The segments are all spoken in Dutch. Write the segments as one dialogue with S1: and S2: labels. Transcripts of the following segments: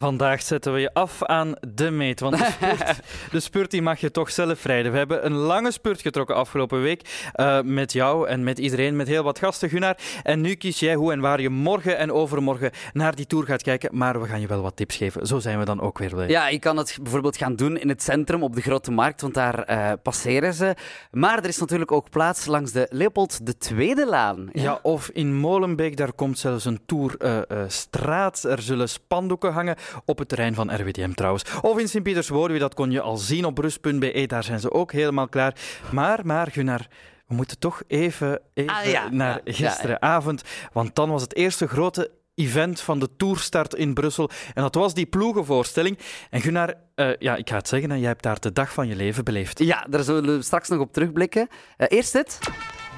S1: Vandaag zetten we je af aan de meet. Want de spurt, de spurt die mag je toch zelf rijden. We hebben een lange spurt getrokken afgelopen week. eh, met jou en met iedereen, met heel wat gasten, Gunnar. En nu kies jij hoe en waar je morgen en overmorgen naar die tour gaat kijken. Maar we gaan je wel wat tips geven. Zo zijn we dan ook weer blij.
S2: Ja, je kan het bijvoorbeeld gaan doen in het centrum op de Grote Markt, want daar eh, passeren ze. Maar er is natuurlijk ook plaats langs de Leopold II laan.
S1: Ja, of in Molenbeek, daar komt zelfs een tourstraat. er zullen spandoeken hangen op het terrein van RWDM trouwens. Of in Sint-Pieterswoordje, dat kon je al zien op rust.be, E, daar zijn ze ook helemaal klaar. Maar, maar Gunnar, we moeten toch even, even
S2: Ah, ja.
S1: naar
S2: Ja, ja, ja.
S1: gisteravond, want dan was het eerste grote event van de tourstart in Brussel. En dat was die ploegenvoorstelling. En Gunnar, eh, ja, ik ga het zeggen, hè, jij hebt daar de dag van je leven beleefd.
S2: Ja, daar zullen we straks nog op terugblikken. Eh, eerst dit.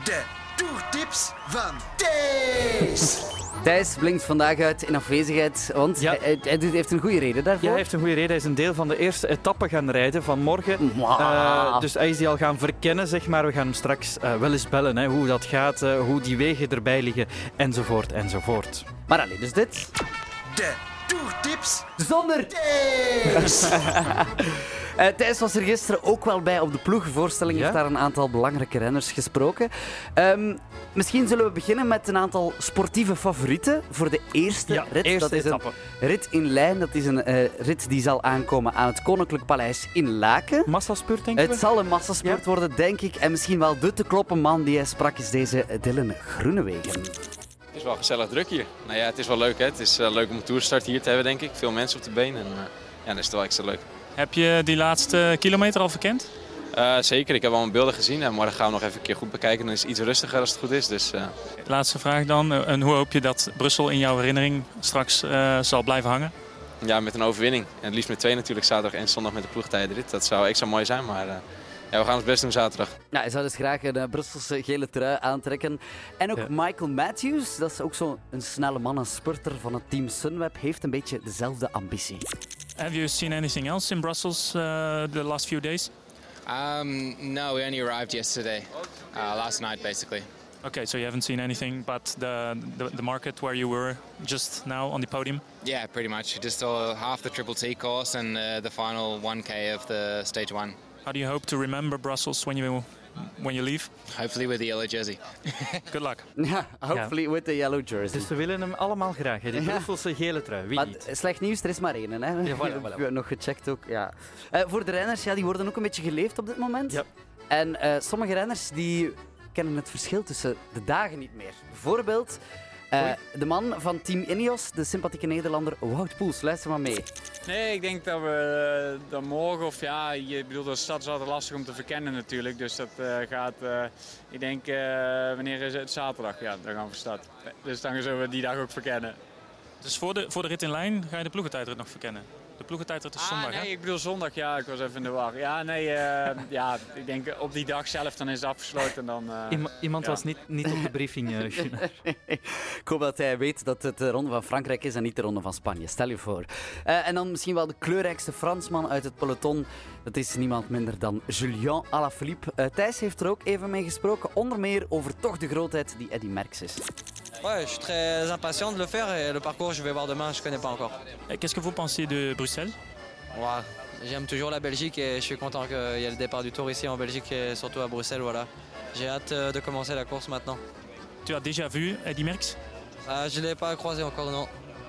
S3: De toertips van Thijs.
S2: Thijs blinkt vandaag uit in afwezigheid, want
S1: Ja.
S2: hij, hij- hij doet- heeft een goede reden daarvoor.
S1: Ja, hij heeft een goede reden. Hij is een deel van de eerste etappe gaan rijden van morgen.
S2: Mwah.
S1: Eh, dus hij is die al gaan verkennen, zeg maar. We gaan hem straks eh, wel eens bellen, hè, hoe dat gaat, eh, hoe die wegen erbij liggen, enzovoort, enzovoort.
S2: Maar alleen, dus dit.
S3: De toertips
S2: Zonder
S3: Thijs.
S2: Eh, Thijs was er gisteren ook wel bij op de ploegvoorstelling.
S1: Ja?
S2: heeft daar een aantal belangrijke renners gesproken. Ehm, misschien zullen we beginnen met een aantal sportieve favorieten voor de eerste
S1: Ja,
S2: rit.
S1: eerste
S2: dat is
S1: etappe.
S2: een rit in lijn. Dat is een eh, rit die zal aankomen aan het Koninklijk Paleis in Laken.
S1: Massaspuurt, denk ik.
S2: Het zal een massasport worden, denk ik. En misschien wel de te kloppen man die hij sprak is deze Dylan Groenewegen.
S4: Het is wel gezellig druk hier. Nou ja, het is wel leuk hè. Het is eh, leuk om een toerstart hier te hebben denk ik. Veel mensen op de been en eh, ja, dat is het wel extra leuk.
S5: Heb je die laatste kilometer al verkend?
S4: Eh, zeker, ik heb al mijn beelden gezien en morgen gaan we nog even een keer goed bekijken. Dan is het iets rustiger als het goed is. Dus eh,
S5: Laatste vraag dan. eh, En hoe hoop je dat Brussel in jouw herinnering straks eh, zal blijven hangen?
S4: ja, met een overwinning. En het liefst met twee natuurlijk, zaterdag en zondag met de ploegtijdrit. Dat zou extra mooi zijn, maar eh, ja, we gaan ons best doen zaterdag.
S2: Nou, hij zou dus graag een eh, Brusselse gele trui aantrekken. En ook
S1: Ja.
S2: Michael Matthews, dat is ook zo'n snelle man, een spurter van het team Sunweb, heeft een beetje dezelfde ambitie.
S5: Have you seen anything else in Brussels eh, the last few days?
S6: Um, no, we only arrived yesterday, uh, last night basically.
S5: Okay, so you haven't seen anything but the, the, the market where you were just now on the podium?
S6: Yeah, pretty much. We Just saw half the Triple T course and uh, the final 1K of the stage one.
S5: How do you hope to remember Brussels when you, when you leave?
S6: Hopefully with the yellow jersey.
S5: Good luck.
S2: Ja, hopefully with the yellow jersey.
S1: Dus ze willen hem allemaal graag, hè, die
S2: Ja.
S1: Brusselse gele trui. Wie
S2: Maar
S1: niet?
S2: het- slecht nieuws, er is maar één. Hè?
S1: Ja, voilà, voilà.
S2: Ik heb nog gecheckt ook. Ja. Eh, voor de renners, ja, die worden ook een beetje geleefd op dit moment.
S1: Ja.
S2: En eh, sommige renners die kennen het verschil tussen de dagen niet meer. Bijvoorbeeld eh, de man van Team Ineos, de sympathieke Nederlander Wout Poels. Luister maar mee.
S7: Nee, ik denk dat we eh, dan morgen, of ja, je bedoelt, de stad is altijd lastig om te verkennen natuurlijk. Dus dat eh, gaat, eh, ik denk, eh, wanneer is het? Zaterdag, ja, dan gaan we van stad. Dus dan zullen we die dag ook verkennen.
S5: Dus voor de, voor de rit in lijn ga je de ploegentijdrit nog verkennen? De ploegentijdrit is zondag,
S7: ah,
S5: hè?
S7: nee, ik bedoel zondag, ja, ik was even in de war. Ja, nee, eh, ja, ik denk op die dag zelf, dan is het afgesloten en dan... eh,
S1: Iem- iemand
S7: ja.
S1: was niet, niet op de briefing, eh, Gunnar.
S2: Ik hoop dat hij weet dat het de Ronde van Frankrijk is en niet de Ronde van Spanje. Stel je voor. Eh, en dan misschien wel de kleurrijkste Fransman uit het peloton. Dat is niemand minder dan Julien Alaphilippe. Eh, Thijs heeft er ook even mee gesproken. Onder meer over toch de grootheid die Eddy Merckx is.
S8: Ouais, je suis très impatient de le faire et le parcours, je vais voir demain, je connais pas encore.
S5: Eh, Qu'est-ce que vous pensez de Bruxelles?
S8: Ouah, J'aime toujours la Belgique et je suis content qu'il y ait le départ du tour ici en Belgique et surtout à Bruxelles. Voilà. J'ai hâte euh, de commencer la course maintenant.
S5: Tu as déjà vu Eddy Merckx?
S8: Ah, je ne l'ai pas croisé encore, non.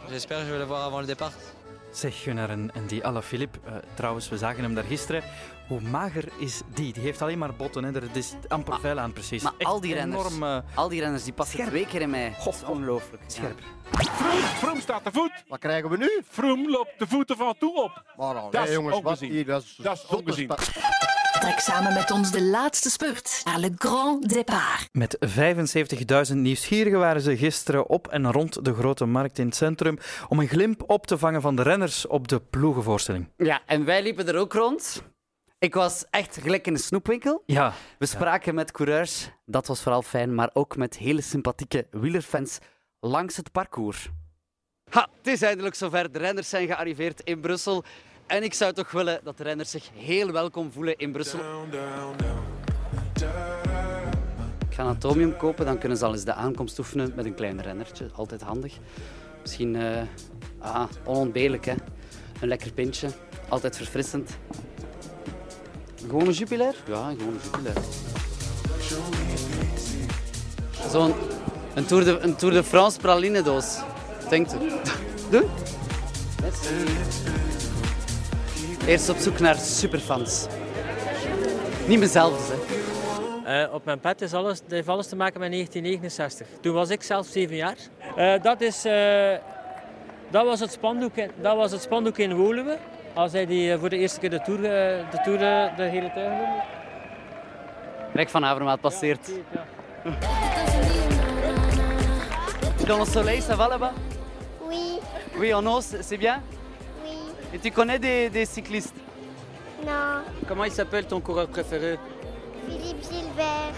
S8: J'espère que je vais le voir avant le départ.
S1: Zeg, Gunnar, en, en die Alaphilippe, eh trouwens, we zagen hem daar gisteren. Hoe mager is die? Die heeft alleen maar botten, hè. er is amper
S2: Maar-
S1: vuil aan precies.
S2: maar
S1: Echt
S2: al die renners-
S1: Enorm, eh,
S2: Al die renners die passen
S1: Scherp.
S2: twee keer in mij.
S1: God,
S2: Dat is ongelooflijk.
S1: scherp.
S9: Vroom staat te voet.
S10: Wat krijgen we nu?
S9: Vroom loopt de voeten van toe op.
S10: Maar allee,
S9: Dat is
S10: jongens, wat
S9: ongezien.
S10: hier, dat is,
S9: Dat is
S10: zotte
S9: ongezien.
S10: sta-
S11: Trek samen met ons de laatste spurt naar Le Grand Départ.
S1: Met 75.000 nieuwsgierigen waren ze gisteren op en rond de grote markt in het centrum om een glimp op te vangen van de renners op de ploegenvoorstelling.
S2: Ja. Ja, en wij liepen er ook rond. Ik was echt gelijk in een snoepwinkel.
S1: Ja,
S2: We spraken met coureurs, dat was vooral fijn, maar ook met hele sympathieke wielerfans langs het parcours. Ha, het is eindelijk zover. De renners zijn gearriveerd in Brussel. En ik zou toch willen dat de renners zich heel welkom voelen in Brussel. Ik ga een atomium kopen, dan kunnen ze al eens de aankomst oefenen met een klein rennertje. Altijd handig. Misschien eh ah, onontbeerlijk, hè? Een lekker pintje. Altijd verfrissend. Gewoon een Jupiler? Ja, gewoon een Jupiler. Zo'n een Tour, de, een Tour de France pralinedoos. Denkt u? Doe. Merci. Eerst op zoek naar superfans. Niet mezelf, hè.
S10: Eh, op mijn pet is alles, heeft alles te maken met 1969. Toen was ik zelf zeven jaar. Eh, dat, is, eh, dat, was het spandoek in, dat was het spandoek in Woluwe. Als hij die eh, voor de eerste keer de Tour, eh, de, tour eh, de hele tuin won.
S2: Rick van Avermaat passeert. Dans le soleil, ça va là-bas
S12: Oui,
S2: Oui, en os, c'est bien Oui. Et tu connais des, des cyclistes
S12: non,
S2: Comment il s'appelle ton coureur préféré
S12: Philippe Gilbert.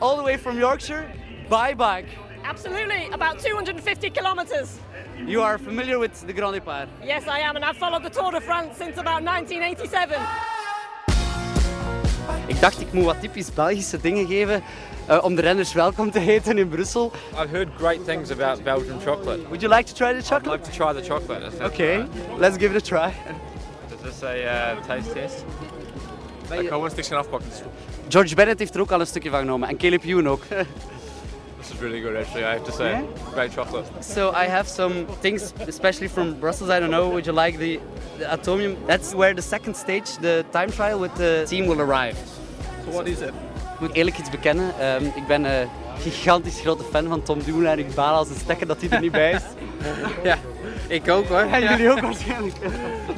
S2: All the way from Yorkshire, by bike.
S13: Absolutely, about 250 kilometres.
S2: You are familiar with the Grand Départ.
S13: Yes, I am, and I've followed the Tour de France since about 1987.
S2: Ik dacht, ik moet wat typisch Belgische dingen geven eh, om de renners welkom te heten in Brussel.
S14: I've heard great things about Belgian chocolate.
S2: Would you like to try the chocolate?
S14: I'd like to try the chocolate. Is that-
S2: Okay, let's give it a try.
S14: Is this a uh, taste test? Ik ga gewoon een stukje afpakken.
S2: George Bennett heeft er ook al een stukje van genomen en Caleb Youn ook.
S14: This is really good actually, I have to say. Great chocolate.
S2: so I have some things, especially from Brussels. I don't know. Would you like the, the Atomium? That's where the second stage, the time trial with the team will arrive.
S15: So what is it?
S2: Ik moet eerlijk iets bekennen. Ehm, ik ben een gigantisch grote fan van Tom Dumoulin en ik baal als een stekker dat hij er niet bij is.
S15: Ja, ik ook hoor.
S2: En jullie ook waarschijnlijk.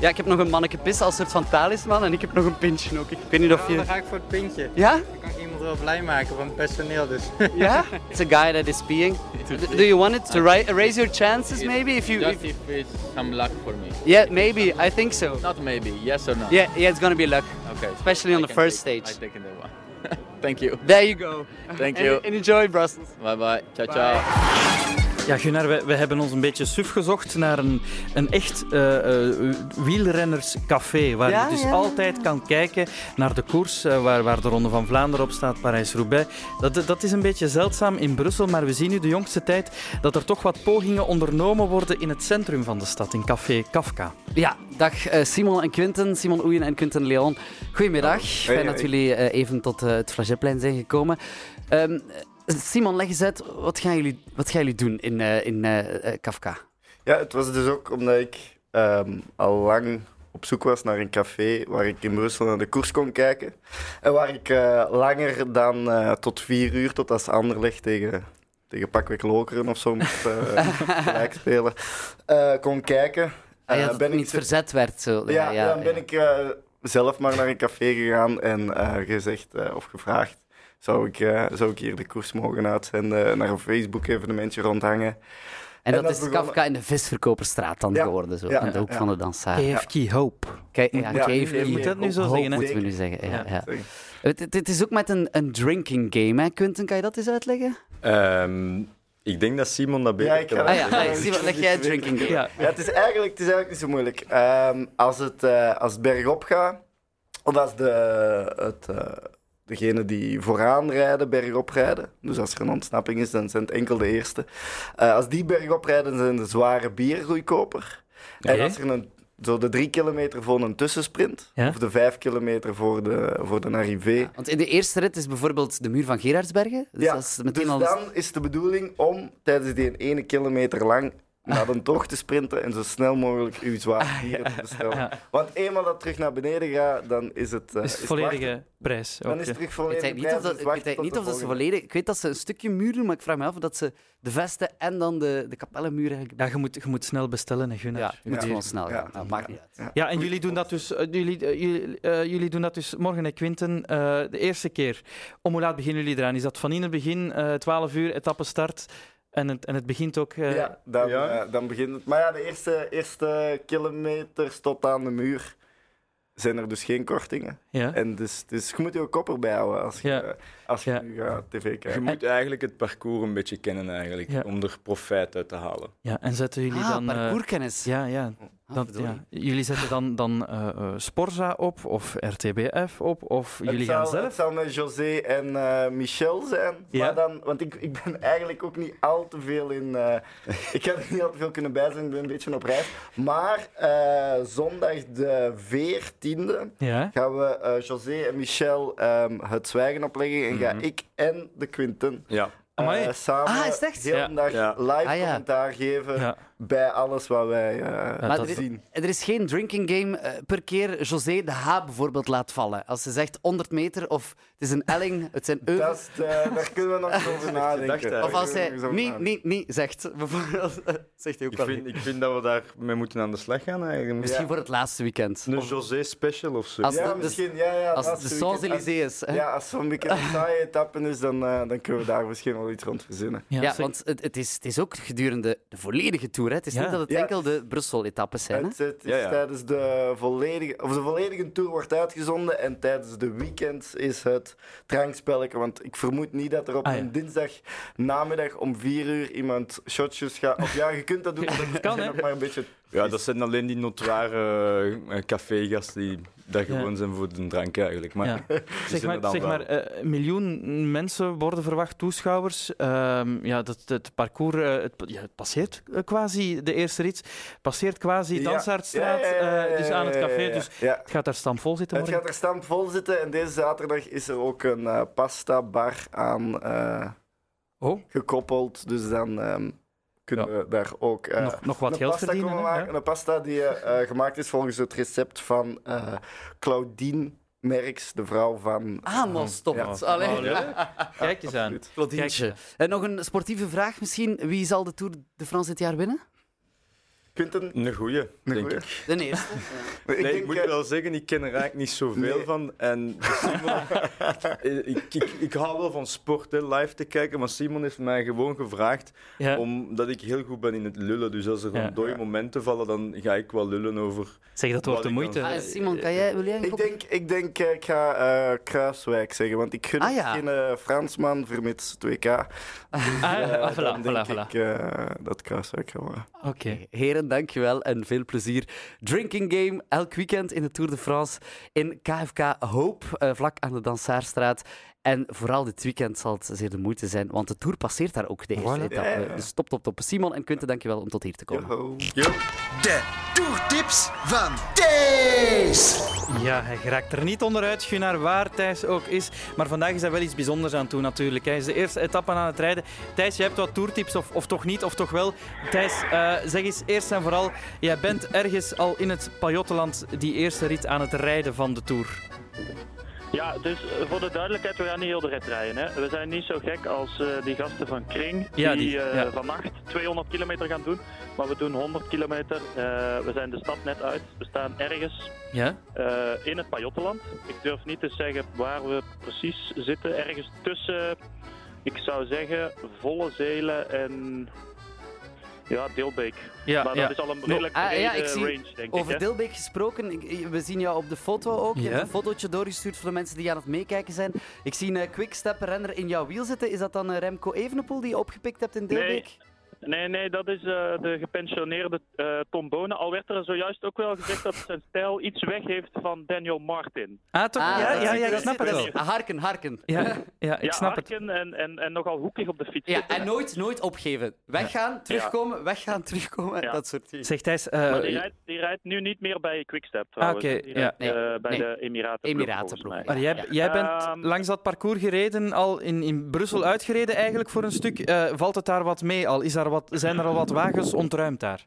S2: Ja, ik heb nog een manneke pis als soort van talisman en ik heb nog een pintje ook. Ik weet niet of je...
S15: Dan ga ik voor het pintje.
S2: Ja?
S15: Dan kan ik iemand wel blij maken van het personeel dus.
S2: Yeah, it's a guy that is peeing. Do you want it to ri- raise your chances maybe if you?
S15: Just
S2: if-
S15: if it's some luck for me.
S2: yeah, maybe. I think so.
S15: Not maybe, yes or no?
S2: Yeah, yeah, it's gonna be luck.
S15: Okay.
S2: Especially on
S15: I
S2: the
S15: can
S2: first
S15: take-
S2: stage.
S15: I take that one. Thank you.
S2: There you go.
S15: Thank
S2: En-
S15: you.
S2: en enjoy Brussels.
S15: Bye bye. Ciao ciao.
S1: Ja, Gunnar, we, we hebben ons een beetje suf gezocht naar een, een echt eh, eh, wielrennerscafé. Waar
S2: Ja,
S1: je dus
S2: ja.
S1: altijd kan kijken naar de koers eh, waar, waar de Ronde van Vlaanderen op staat, Parijs-Roubaix. Dat, dat is een beetje zeldzaam in Brussel, maar we zien nu de jongste tijd dat er toch wat pogingen ondernomen worden in het centrum van de stad, in Café Kafka.
S2: Ja, dag eh, Simon en Quinten, Simon Oeyen en Quinten Leon. Goedemiddag, fijn dat
S1: hey.
S2: jullie eh, even tot eh, het Flagetplein zijn gekomen. Ehm, Simon, leg eens uit, wat gaan jullie, wat gaan jullie doen in, eh, in eh, eh, Kafka?
S16: Ja, het was dus ook omdat ik ehm, al lang op zoek was naar een café waar ik in Brussel naar de koers kon kijken. En waar ik eh, langer dan eh, tot vier uur, tot als Anderlecht tegen, tegen Pakweg Lokeren of zo moest eh, gelijk spelen, eh, kon kijken.
S2: Ah, ja,
S16: Eh,
S2: dat het niet verzet werd. Zo.
S16: ja, dan ben ik eh, zelf maar naar een café gegaan en eh, gezegd eh, of gevraagd. Zou ik, eh, zou ik hier de koers mogen uitzenden, eh, naar een Facebook-evenementje rondhangen?
S2: En, dat,
S16: dat
S2: is
S16: begon-
S2: Kafka in de visverkoperstraat dan geworden, zo,
S16: ja,
S2: aan de hoek
S16: ja.
S2: van de dansaar.
S1: KFK Hope.
S2: Kijk,
S1: Moet-
S2: ja,
S1: moet-
S2: KFK
S1: moet- moet dat nu zo
S2: Hope
S1: zeggen, hè?
S2: Moeten we nu zeggen, ja.
S1: Ja,
S2: ja. Het, het- het is ook met een, een drinking game, hè, Quinten? Kan je dat eens uitleggen?
S17: Ehm, ik denk dat Simon dat beter
S16: Ja, ik ga
S17: kan.
S2: Ah ja, nee, Simon, leg jij het drinking game.
S16: Ja. het, is eigenlijk, het is eigenlijk niet zo moeilijk. Ehm, als, het, eh, als het bergop gaat, of als de, het, eh, degene die vooraan rijden, bergop rijden, dus als er een ontsnapping is, dan zijn het enkel de eerste. Eh, als die bergop rijden, zijn de zware bieren goedkoper. En
S1: Oké.
S16: als er een, zo de drie kilometer voor een tussensprint,
S1: Ja.
S16: of de vijf kilometer voor de, voor de arrivée,
S2: Want in de eerste rit is bijvoorbeeld de muur van Gerardsbergen. Dus
S16: ja,
S2: dat is meteen
S16: dus
S2: al...
S16: dan is de bedoeling om tijdens die ene kilometer lang naar een tocht te sprinten en zo snel mogelijk uw
S2: Ah,
S16: zwaar dieren te bestellen. Want eenmaal dat terug naar beneden gaat, dan is het... eh,
S1: Is het volledige
S16: wachten.
S1: prijs.
S16: Dan is het terug
S2: Ik
S16: volledige dus
S2: weet niet of dat, ik weet niet of dat ze volledig... Ik weet dat ze een stukje muur doen, maar ik vraag me af of dat ze de vesten en dan de, de kapellenmuur eigenlijk...
S1: Ja, je moet, je moet snel bestellen, hè, Gunnar.
S2: Ja, je moet gewoon snel gaan. Dat maakt niet uit.
S1: Ja, en jullie doen dat dus, eh, jullie, eh, jullie, eh, jullie doen dat dus morgen, hè, Quinten, eh, de eerste keer. Om hoe laat beginnen jullie eraan? Is dat van in het begin, eh 12 uur, etappe start en het, en het begint ook... eh,
S16: Ja, dan, eh, dan begint het. Maar ja, de eerste, eerste kilometers tot aan de muur zijn er dus geen kortingen.
S1: Ja.
S16: En dus, dus je moet je kop bij houden als je, eh, als je nu gaat tv kijken.
S17: Je moet eigenlijk het parcours een beetje kennen eigenlijk,
S1: Ja.
S17: om er profijt uit te halen.
S1: Ja, en zetten jullie
S17: Ah,
S1: dan... eh,
S17: parcourskennis.
S16: Ah,
S1: ja, ja. Dan,
S2: Ah, verdorie.
S1: ja, jullie zetten dan, dan eh, eh, Sporza op of RTBF op of jullie
S16: het,
S1: gaan
S16: zal,
S1: zelf.
S16: het zal met José en eh, Michel zijn.
S1: Ja.
S16: Maar dan, want ik, ik ben eigenlijk ook niet al te veel in. eh, ik heb er niet al te veel kunnen bij zijn, ik ben een beetje op reis. Maar eh, zondag de 14e
S1: Ja.
S16: gaan we eh, José en Michel ehm, het zwijgen opleggen. En ga ik en de Quinten.
S17: Ja.
S16: eh,
S1: Mhm. Amai.
S16: samen
S2: Ah, is het echt?
S16: de hele
S2: Ja.
S16: dag
S17: Ja.
S16: live
S2: Ah, ja.
S16: commentaar geven
S1: Ja.
S16: bij alles wat wij eh,
S2: Maar er,
S16: zien.
S2: is- er is geen drinking game eh, per keer José de H bijvoorbeeld laat vallen. Als ze zegt 100 meter of het is een elling, het zijn
S16: Dat
S2: euvels.
S16: is, eh, daar kunnen we nog eens over nadenken.
S2: Of als hij
S16: Daar kunnen we nog eens over
S2: niet,
S16: nadenken.
S2: niet, niet zegt, bijvoorbeeld, zegt hij ook
S17: Ik
S2: wel
S17: vind,
S2: niet.
S17: ik vind dat we daarmee moeten aan de slag gaan eigenlijk.
S2: Misschien
S17: Ja.
S2: voor het laatste weekend.
S17: Een José special of zo.
S2: Als
S16: ja,
S2: de-
S16: misschien. Ja, ja,
S2: als
S16: laatste
S2: de
S16: weekend.
S2: Champs-Élysées, hè?
S16: Als- Ja, als zo'n beetje een saaie etappe is, dan, eh, dan kunnen we daar misschien wel iets rond verzinnen.
S2: Ja, want het, het, is, het is ook gedurende de volledige tour. Hè. Het is
S16: Ja.
S2: niet dat het
S16: Ja.
S2: enkel de Brussel-etappes zijn. Hè?
S16: Het, het is
S17: Ja, ja.
S16: tijdens de volledige, of de volledige tour wordt uitgezonden en tijdens de weekends is het drankspelletje. Want ik vermoed niet dat er op
S1: Ah, ja.
S16: een dinsdag namiddag om vier uur iemand shotjes gaat. Of ja, je kunt dat doen, maar dat
S1: kan,
S16: is
S1: hè.
S16: ook maar een beetje.
S17: Ja, dat zijn alleen die notoire eh cafégasten die daar
S1: Ja.
S17: gewoon zijn voor de drank eigenlijk. Maar
S1: Ja.
S17: die
S1: Zeg
S17: zijn
S1: maar,
S17: er dan
S1: zeg
S17: wel.
S1: maar eh, een miljoen mensen worden verwacht, toeschouwers. Ehm, ja, dat, het parcours eh, het, pa- ja, het passeert eh, quasi de eerste rit. passeert quasi
S16: Ja.
S1: Dansaardstraat,
S16: Ja, ja, ja, ja,
S1: eh, dus aan het
S16: ja, ja,
S1: café.
S16: ja.
S1: Dus
S16: Ja.
S1: het gaat daar stampvol zitten
S16: Het
S1: morgen.
S16: gaat er stampvol zitten en deze zaterdag is er ook een eh, pasta bar aan eh,
S1: Oh.
S16: gekoppeld. Dus dan ehm, kunnen we daar ook eh,
S1: Nog- nog wat
S16: een
S1: geld
S16: pasta
S1: verdienen,
S16: komen
S1: hè?
S16: maken.
S1: Ja.
S16: Een pasta die eh, gemaakt is volgens het recept van eh, Claudine Merks, de vrouw van.
S1: Ah.
S2: Hamel stopt.
S16: Ja.
S2: Allee.
S1: Oh, leuk. Kijk
S16: Ah,
S1: eens aan.
S2: Claudientje.
S1: Kijk.
S2: En nog een sportieve vraag misschien. Wie zal de Tour de France dit jaar winnen?
S16: Quinten,
S17: Een goeie, denk
S16: goeie.
S17: ik.
S2: De eerste.
S17: Nee, ik,
S16: denk,
S17: moet
S16: eh,
S17: wel zeggen, ik ken er eigenlijk niet zoveel
S16: Nee.
S17: van. En Simon, Eh, ik, ik, ik hou wel van sport, hè, live te kijken, maar Simon heeft mij gewoon gevraagd,
S1: Ja.
S17: omdat ik heel goed ben in het lullen. Dus als er
S1: Ja.
S17: dan dode momenten vallen, dan ga ik wel lullen over...
S1: Zeg, dat
S17: wat
S1: wordt de
S17: ik dan-
S1: moeite.
S2: Ah, Simon, kan jij, wil jij een
S16: Ik
S2: kop-
S16: denk, ik, denk eh, ik ga eh, Kruiswijk zeggen, want ik gun
S2: Ah, ja.
S16: geen eh, Fransman vermits het WK.
S1: Ah,
S16: Eh,
S1: ah, voilà,
S16: dan denk
S1: voilà, voilà.
S16: ik eh, dat Kruiswijk gaat worden.
S1: Oké.
S2: Heren, dankjewel en veel plezier. Drinking Game, elk weekend in de Tour de France in KFK Hoop, eh, vlak aan de Dansaarstraat. En vooral dit weekend zal het zeer de moeite zijn, want de Tour passeert daar ook de eerste
S1: Voilà.
S2: etappe.
S16: Ja.
S2: Dus top, top, top. Simon en Kunte, dankjewel om tot hier te komen.
S16: Yo.
S3: De toertips van Thijs.
S1: Ja, hij geraakt er niet onderuit, Gunnar, waar Thijs ook is. Maar vandaag is hij wel iets bijzonders aan toe natuurlijk. Hij is de eerste etappe aan het rijden. Thijs, je hebt wat toertips, of, of toch niet, of toch wel. Thijs, eh, zeg eens eerst en vooral, jij bent ergens al in het Pajottenland die eerste rit aan het rijden van de Tour.
S18: Ja, dus eh, voor de duidelijkheid, we gaan niet heel de rit rijden. Hè. We zijn niet zo gek als eh, die gasten van Kring,
S1: Ja,
S18: die,
S1: die,
S18: eh,
S1: ja.
S18: vannacht 200 kilometer gaan doen. Maar we doen 100 kilometer. Eh, we zijn de stad net uit. We staan ergens
S1: Ja?
S18: eh, in het Pajottenland. Ik durf niet te zeggen waar we precies zitten. Ergens tussen, ik zou zeggen, Volle Zelen en ja, Deelbeek.
S1: Ja,
S18: maar dat
S1: ja.
S18: is al een
S1: No-
S18: redelijk
S2: Ah, ja,
S18: brede
S2: ik zie
S18: eh, range, denk ik.
S2: over
S18: hè.
S2: Dilbeek gesproken. Ik- eh, we zien jou op de foto ook. Je
S1: Ja.
S2: hebt een fotootje doorgestuurd voor de mensen die aan het meekijken zijn. Ik zie een quickstep-renner in jouw wiel zitten. Is dat dan eh, Remco Evenepoel die je opgepikt hebt in Dilbeek?
S18: Nee, nee, dat is eh, de gepensioneerde eh Tom Bonen. Al werd er zojuist ook wel gezegd dat zijn stijl iets weggeeft van Daniel Martin.
S1: Ah, toch?
S2: Ah,
S1: ja,
S2: dat
S1: ja,
S2: zit
S1: ja,
S2: er-
S1: ik snap het
S2: dat
S1: wel.
S2: zit- Ah, Harken, harken.
S1: Ja, ja ik
S18: ja,
S1: snap het.
S18: harken En, en, en nogal hoekig op de fiets.
S2: Ja,
S18: zitten.
S2: en nooit, nooit opgeven. Weggaan, terugkomen, weggaan, terugkomen.
S18: Ja.
S2: Dat soort dingen.
S1: Zeg, Thijs... eh,
S18: Maar die rijdt, die rijdt nu niet meer bij Quickstep. trouwens.
S1: Ah, oké,
S18: Die rijdt,
S1: ja.
S18: eh,
S1: Nee,
S18: bij
S1: nee.
S18: de Emiraten.
S2: Emiratenploeg,
S1: maar jij, jij bent
S18: Ehm.
S1: langs dat parcours gereden, al in, in Brussel uitgereden eigenlijk voor een stuk. Eh, valt het daar wat mee al? Is daar wat, zijn er al wat wagens ontruimd daar?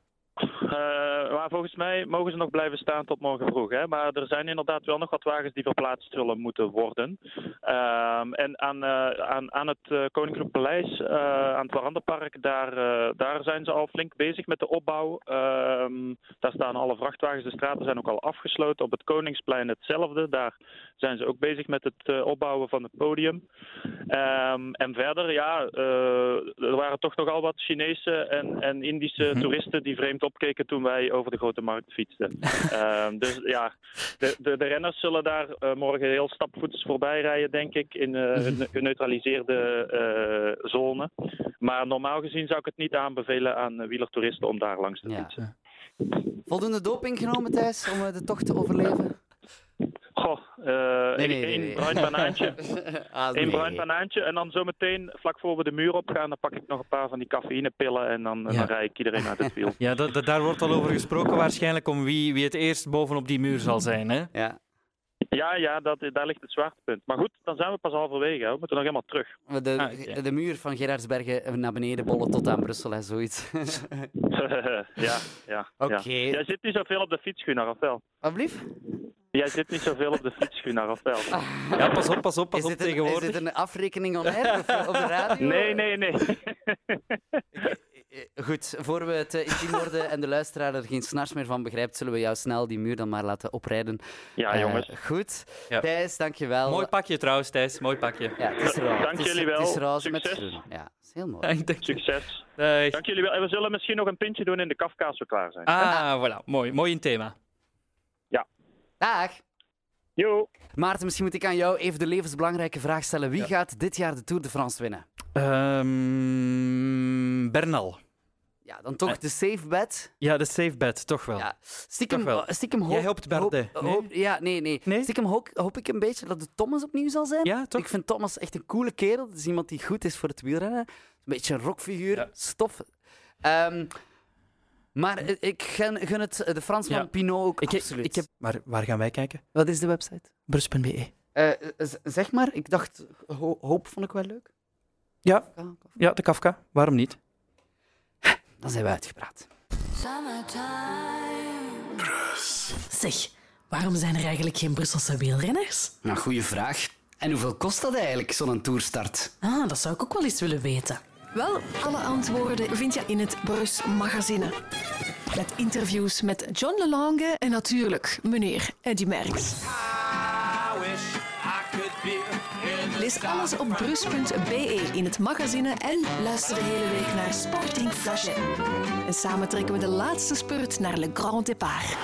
S18: Eh, maar volgens mij mogen ze nog blijven staan tot morgen vroeg. Hè? Maar er zijn inderdaad wel nog wat wagens die verplaatst zullen moeten worden. Ehm, en aan, eh, aan, aan het eh, Koninklijk Paleis, eh, aan het Warandenpark, daar, eh, daar zijn ze al flink bezig met de opbouw. Ehm, daar staan alle vrachtwagens, de straten zijn ook al afgesloten. Op het Koningsplein hetzelfde. Daar zijn ze ook bezig met het eh, opbouwen van het podium. Ehm, en verder, ja, eh, er waren toch nogal wat Chinese en, en Indische toeristen die vreemd opkeken toen wij over de grote markt fietsten. Ehm, dus ja, de, de, de renners zullen daar eh, morgen heel stapvoets voorbij rijden, denk ik, in eh, een geneutraliseerde eh, zone. Maar normaal gezien zou ik het niet aanbevelen aan eh, wielertoeristen om daar langs te fietsen.
S2: Voldoende doping genomen, Thijs, om eh, de tocht te overleven?
S18: Goh, eh
S2: Nee,
S18: één
S2: nee, nee,
S18: één
S2: nee.
S18: bruin banaantje.
S2: Ah,
S18: Eén
S2: nee.
S18: bruin banaantje. En dan zometeen, vlak voor we de muur opgaan, dan pak ik nog een paar van die cafeïnepillen. En dan, dan rij ik iedereen uit het wiel.
S1: Ja, dat, dat- daar wordt al over gesproken waarschijnlijk om wie, wie het eerst bovenop die muur zal zijn. Hè?
S2: Ja.
S18: Ja, ja, dat, daar ligt het zwaartepunt. Maar goed, dan zijn we pas halverwege. hè. We moeten nog helemaal terug.
S2: De,
S18: Ah,
S2: de, de muur van Gerardsbergen naar beneden bollen tot aan Brussel en zoiets.
S18: ja, ja.
S2: Oké.
S18: ja. Jij zit niet zoveel op de fiets, Gunnar, of wel?
S2: Alblieft?
S18: Jij zit niet zoveel op de fiets, Gunnar, of wel?
S1: Ja, pas op, pas op, pas op
S2: Is dit
S1: tegenwoordig.
S2: een afrekening on air of op de radio?
S18: Nee, nee, nee.
S2: Goed, voor we het eh, intiem worden en de luisteraar er geen snars meer van begrijpt, zullen we jou snel die muur dan maar laten oprijden.
S1: Ja,
S2: Eh,
S1: jongens.
S2: goed.
S1: Ja.
S2: Thijs, dankjewel.
S1: Mooi pakje trouwens, Thijs. Mooi pakje.
S2: Ja, het is roze.
S18: Dank
S2: Het is-
S18: jullie wel.
S2: Het is roze met
S18: Succes.
S2: groen. Ja, dat is heel mooi.
S18: Succes. Dank jullie wel. En we zullen misschien nog een pintje doen in de kafkaas als we klaar zijn.
S1: Ah, voilà. Mooi. Mooi in thema.
S2: Dag.
S18: Yo.
S2: Maarten, misschien moet ik aan jou even de levensbelangrijke vraag stellen. Wie gaat dit jaar de Tour de France winnen?
S1: Ehm, Bernal.
S2: Ja, dan toch de safe bet.
S1: Ja, de safe bet, toch Eh. wel.
S2: Stiekem,
S1: Toch wel.
S2: stiekem hoop,
S1: Jij hoopt Bardet,
S2: hoop-
S1: nee?
S2: hoop- ja, nee, nee. Stiekem hoop, hoop ik een beetje dat de Thomas opnieuw zal zijn. Ik vind Thomas echt een coole kerel. Dat is iemand die goed is voor het wielrennen. Een beetje een rockfiguur. Stof. Ehm, maar eh, ik gun, gun het eh, de Fransman
S1: Ja.
S2: Pinot ook
S1: Ik-
S2: absoluut.
S1: ik heb- Maar waar gaan wij kijken?
S2: Wat is de website?
S1: Brus.be.
S2: Eh, z- zeg maar, ik dacht, ho- hoop vond ik wel leuk.
S1: Ja. ja, de Kafka. Waarom niet?
S2: Dan zijn we uitgepraat.
S11: Zeg, waarom zijn er eigenlijk geen Brusselse wielrenners?
S2: Nou, goede vraag. En hoeveel kost dat eigenlijk, zo'n toerstart?
S11: Ah, dat zou ik ook wel eens willen weten. Wel, alle antwoorden vind je in het Brus magazine. Met interviews met John Lelange en natuurlijk meneer Eddy Merckx. Lees alles op brus.be in het magazine en luister de hele week naar Sporting Flasje. En samen trekken we de laatste spurt naar Le Grand Départ.